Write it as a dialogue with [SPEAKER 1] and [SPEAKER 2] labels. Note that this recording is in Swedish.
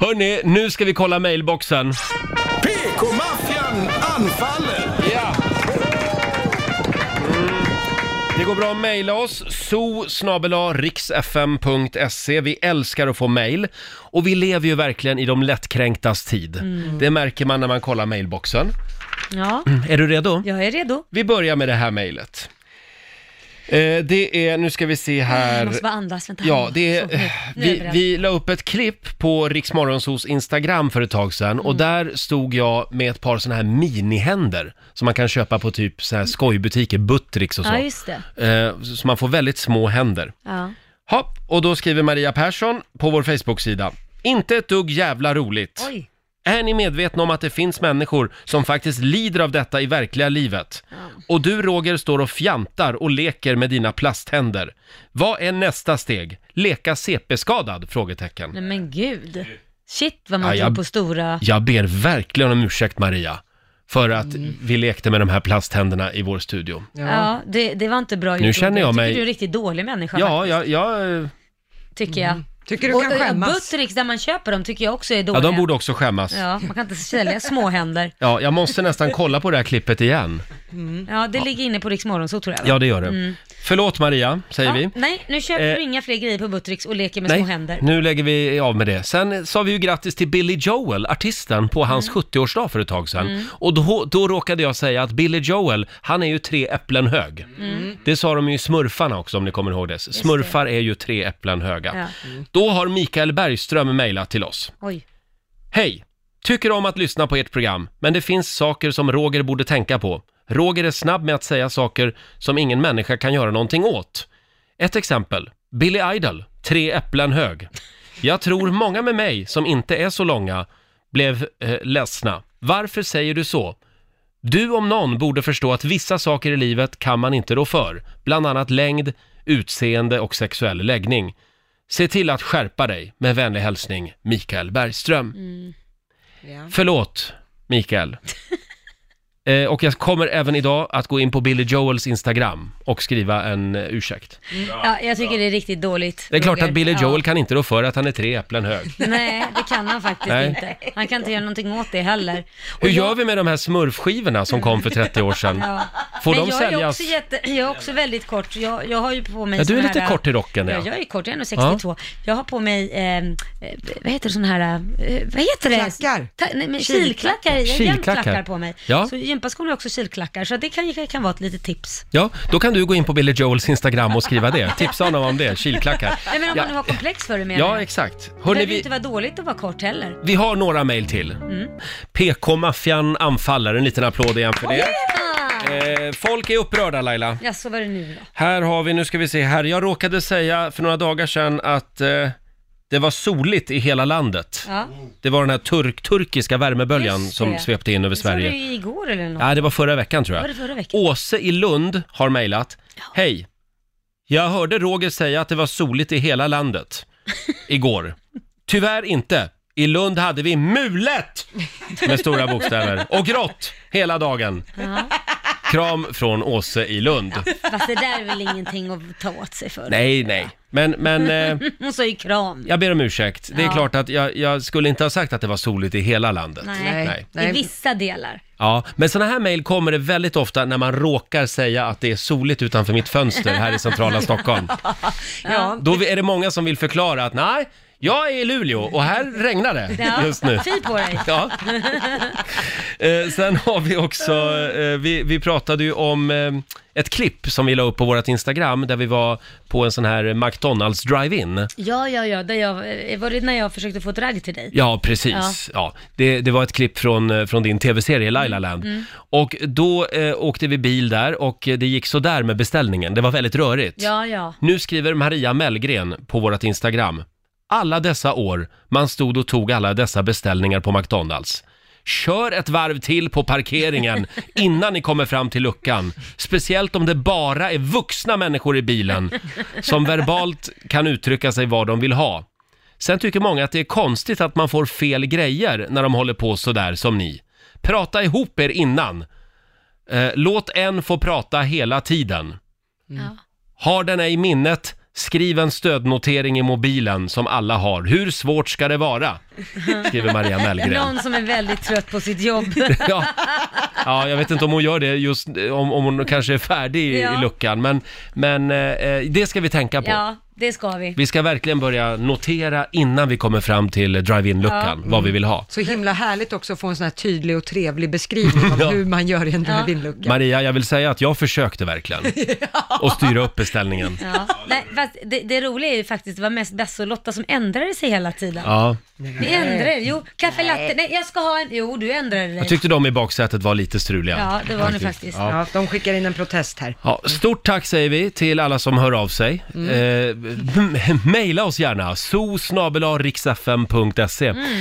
[SPEAKER 1] Hörni, nu ska vi kolla mailboxen.
[SPEAKER 2] PK-maffian anfaller!
[SPEAKER 1] Ja. Mm. Det går bra att mejla oss, so.riksfm.se. Vi älskar att få mejl. Och vi lever ju verkligen i de lättkränktas tid. Det märker man när man kollar mejlboxen.
[SPEAKER 3] Ja,
[SPEAKER 1] Är du redo?
[SPEAKER 3] jag är redo.
[SPEAKER 1] Vi börjar med det här mejlet. Eh, det är, nu ska vi se här.
[SPEAKER 3] Mm, Jag måste bara andas, vänta.
[SPEAKER 1] Ja, det
[SPEAKER 3] Så, nu-
[SPEAKER 1] är,
[SPEAKER 3] nu är jag
[SPEAKER 1] vi,
[SPEAKER 3] beredd.
[SPEAKER 1] vi la upp ett klipp på Riksmorgonsos Instagram för ett tag sedan och
[SPEAKER 3] Mm.
[SPEAKER 1] där stod jag med ett par såna här minihänder som man kan köpa på typ så här skojbutiker, Buttricks och så.
[SPEAKER 3] Ja, just det.
[SPEAKER 1] Eh, så man får väldigt små händer.
[SPEAKER 3] Ja.
[SPEAKER 1] Hopp, och då skriver Maria Persson på vår Facebook-sida. Inte ett dugg jävla roligt.
[SPEAKER 3] Oj.
[SPEAKER 1] Är ni medvetna om att det finns människor som faktiskt lider av detta i verkliga livet? Och du Roger står och fjantar och leker med dina plasthänder. Vad är nästa steg? Leka CP-skadad? Frågetecken.
[SPEAKER 3] Nej men gud. Shit vad man
[SPEAKER 1] Ja,
[SPEAKER 3] tror
[SPEAKER 1] jag-
[SPEAKER 3] på stora...
[SPEAKER 1] Jag ber verkligen om ursäkt Maria, för att vi lekte med de här plasthänderna i vår studio.
[SPEAKER 3] Mm. Ja, det, det var inte bra gjort.
[SPEAKER 1] Nu känner jag
[SPEAKER 3] tycker
[SPEAKER 1] mig-
[SPEAKER 3] du är en riktigt dålig människa, ja.
[SPEAKER 1] Ja, jag, jag, eh,
[SPEAKER 3] tycker jag.
[SPEAKER 4] Mm. Tycker du kan
[SPEAKER 3] och,
[SPEAKER 4] skämmas?
[SPEAKER 3] Och Buttericks, där man köper dem, tycker jag också är
[SPEAKER 1] ja,
[SPEAKER 3] dåliga.
[SPEAKER 1] de borde också skämmas.
[SPEAKER 3] Ja, man kan inte sälja småhänder.
[SPEAKER 1] Ja, jag måste nästan kolla på det här klippet igen.
[SPEAKER 4] Mm.
[SPEAKER 3] Ja, det ligger inne på Rix så tror jag. va?
[SPEAKER 1] Ja, det gör det. Förlåt Maria, säger
[SPEAKER 3] Mm. Ja,
[SPEAKER 1] vi.
[SPEAKER 3] Nej, nu köper
[SPEAKER 1] Eh,
[SPEAKER 3] du inga fler grejer på Buttericks och leker med små händer.
[SPEAKER 1] nu lägger vi av med det. Sen sa vi ju grattis till Billy Joel, artisten, på
[SPEAKER 3] Mm.
[SPEAKER 1] hans 70-årsdag för ett tag sedan. Och då, då råkade jag säga att Billy Joel, han är ju tre äpplen hög.
[SPEAKER 3] Mm.
[SPEAKER 1] Det sa de ju i Smurfarna också om ni kommer ihåg det. Smurfar är ju tre äpplen höga.
[SPEAKER 3] Ja.
[SPEAKER 1] Då har Mikael Bergström mejlat till oss.
[SPEAKER 3] Oj.
[SPEAKER 1] Hej! Tycker om att lyssna på ert program, men det finns saker som Roger borde tänka på. Roger är snabb med att säga saker som ingen människa kan göra någonting åt. Ett exempel. Billy Idol, tre äpplen hög. Jag tror många med mig, som inte är så långa, blev eh, ledsna. Varför säger du så? Du om någon borde förstå att vissa saker i livet kan man inte rå för. Bland annat längd, utseende och sexuell läggning. Se till att skärpa dig. Med vänlig hälsning, Mikael Bergström.
[SPEAKER 4] Ja.
[SPEAKER 1] Förlåt, Mikael. Eh, och jag kommer även idag att gå in på Billy Joels Instagram och skriva en eh, ursäkt.
[SPEAKER 3] Ja, jag tycker det är riktigt dåligt.
[SPEAKER 1] Det är klart
[SPEAKER 3] Roger.
[SPEAKER 1] att Billy
[SPEAKER 3] Ja.
[SPEAKER 1] Joel kan inte rå för att han är tre äpplen hög.
[SPEAKER 3] Nej, det kan han faktiskt
[SPEAKER 1] Nej.
[SPEAKER 3] inte. Han kan inte göra någonting åt det heller. Och
[SPEAKER 1] Hur
[SPEAKER 3] jag-
[SPEAKER 1] gör vi med de här smurfskivorna som kom för 30 år sedan?
[SPEAKER 3] Ja.
[SPEAKER 1] Får
[SPEAKER 3] Men
[SPEAKER 1] de
[SPEAKER 3] jag Är
[SPEAKER 1] säljas?
[SPEAKER 3] också jätte, jag är också väldigt kort. Jag, jag har ju på mig
[SPEAKER 1] Ja, du är
[SPEAKER 3] sån
[SPEAKER 1] lite
[SPEAKER 3] här,
[SPEAKER 1] kort i rocken,
[SPEAKER 3] Ja.
[SPEAKER 1] ja.
[SPEAKER 3] jag är kort. Jag är nog 62. Jag har på mig, eh, eh, vad heter sån här, eh, vad heter det?
[SPEAKER 4] Klackar.
[SPEAKER 3] Ta, nej, men kilklackar. Jag har jämt
[SPEAKER 1] Kilklackar.
[SPEAKER 3] klackar på mig.
[SPEAKER 1] Ja.
[SPEAKER 3] Så gympaskon har också kilklackar, så det kan, kan vara ett litet tips.
[SPEAKER 1] Ja, då kan du gå in på Billy Joels Instagram och skriva det. Tipsa honom om det, kilklackar.
[SPEAKER 3] Nej, men om
[SPEAKER 1] Ja.
[SPEAKER 3] man nu har komplex för det menar
[SPEAKER 1] Ja,
[SPEAKER 3] jag.
[SPEAKER 1] exakt.
[SPEAKER 3] Det
[SPEAKER 1] Hörrni,
[SPEAKER 3] behöver ju
[SPEAKER 1] vi,
[SPEAKER 3] inte vara Mm. dåligt att vara kort heller.
[SPEAKER 1] vi har några mejl till. PK-maffian anfaller. En liten applåd igen för det.
[SPEAKER 3] Ah,
[SPEAKER 1] Eh, folk är upprörda, Laila.
[SPEAKER 3] ja, så var det nu då.
[SPEAKER 1] Här har vi, nu ska vi se här. Jag råkade säga för några dagar sedan att eh, det var soligt i hela landet.
[SPEAKER 3] Ja.
[SPEAKER 1] Det var den här turk, turkiska värmeböljan
[SPEAKER 3] Just
[SPEAKER 1] som
[SPEAKER 3] det.
[SPEAKER 1] svepte in över
[SPEAKER 3] Det såg du
[SPEAKER 1] Sverige.
[SPEAKER 3] ju igår eller något.
[SPEAKER 1] Ja, det var förra veckan tror jag.
[SPEAKER 3] Var det förra veckan?
[SPEAKER 1] Åse i Lund har mejlat. Hej! Jag hörde Roger säga att det var soligt i hela landet igår. Tyvärr inte. I Lund hade vi mulet med stora bokstäver och grått hela dagen. Kram från Åse i Lund.
[SPEAKER 3] Fast det där är väl ingenting att ta åt sig för.
[SPEAKER 1] Nej, nej. Men, men eh,
[SPEAKER 3] Hon sa ju kram.
[SPEAKER 1] jag ber om ursäkt. Det är
[SPEAKER 3] Ja.
[SPEAKER 1] klart att jag, jag skulle inte ha sagt att det var soligt i hela landet.
[SPEAKER 3] Nej.
[SPEAKER 1] Nej.
[SPEAKER 3] I vissa delar.
[SPEAKER 1] Ja, men sådana här mejl kommer det väldigt ofta när man råkar säga att det är soligt utanför mitt fönster här i centrala Stockholm.
[SPEAKER 4] Ja.
[SPEAKER 1] Då är det många som vill förklara att nej, jag är i Luleå och här regnar det
[SPEAKER 3] Ja.
[SPEAKER 1] just nu.
[SPEAKER 3] Fy på dig.
[SPEAKER 1] Ja. Eh, sen har vi också, eh, vi, vi pratade ju om eh, ett klipp som vi la upp på vårt Instagram där vi var på en sån här McDonalds drive-in.
[SPEAKER 3] Ja, ja, ja. Där jag, eh, var det när jag försökte få ett ragg till dig?
[SPEAKER 1] Ja, precis. Ja. Det, det var ett klipp från, eh, från din tv-serie Laila Land. Och då eh, åkte vi bil där och eh, det gick så där med beställningen. Det var väldigt rörigt.
[SPEAKER 3] Ja, ja.
[SPEAKER 1] Nu skriver Maria Mellgren på vårt Instagram. Alla dessa år man stod och tog alla dessa beställningar på McDonalds. Kör ett varv till på parkeringen innan ni kommer fram till luckan. Speciellt om det bara är vuxna människor i bilen som verbalt kan uttrycka sig vad de vill ha. Sen tycker många att det är konstigt att man får fel grejer när de håller på sådär som ni. Prata ihop er innan. Eh, låt en få prata hela tiden.
[SPEAKER 3] Ja.
[SPEAKER 1] Har den ej minnet, skriv en stödnotering i mobilen som alla har. Hur svårt ska det vara? skriver Maria Mellgren.
[SPEAKER 3] Någon som är väldigt trött på sitt jobb.
[SPEAKER 1] Ja. ja, jag vet inte om hon gör det just, eh, om, om hon kanske är färdig i, i
[SPEAKER 3] Ja.
[SPEAKER 1] luckan, men, men eh, det ska vi tänka på.
[SPEAKER 3] Ja, det ska vi.
[SPEAKER 1] Vi ska verkligen börja notera innan vi kommer fram till drive-in-luckan, vad vi vill
[SPEAKER 3] Mm.
[SPEAKER 1] ha.
[SPEAKER 4] Så himla härligt också att få en sån här tydlig och trevlig beskrivning av
[SPEAKER 1] Ja.
[SPEAKER 4] hur man gör i en drive-in-lucka.
[SPEAKER 1] Maria, jag vill säga att jag försökte verkligen att styra upp beställningen.
[SPEAKER 3] Ja. Nej, fast det, det roliga är ju faktiskt, det var mest Bess och Lotta som ändrade sig hela tiden.
[SPEAKER 1] Ja.
[SPEAKER 3] Ni ändrade jo, kaffe latte, nej jag ska ha en, jo du ändrade dig.
[SPEAKER 1] Jag tyckte de i baksätet var lite struliga.
[SPEAKER 3] Ja, det var ni faktiskt.
[SPEAKER 1] Ja.
[SPEAKER 4] Ja, de skickar in en protest här.
[SPEAKER 1] Ja, stort tack säger vi till alla som hör av sig.
[SPEAKER 3] Mm. Mm.
[SPEAKER 1] Eh, m- mejla oss gärna, so.riksfm.se.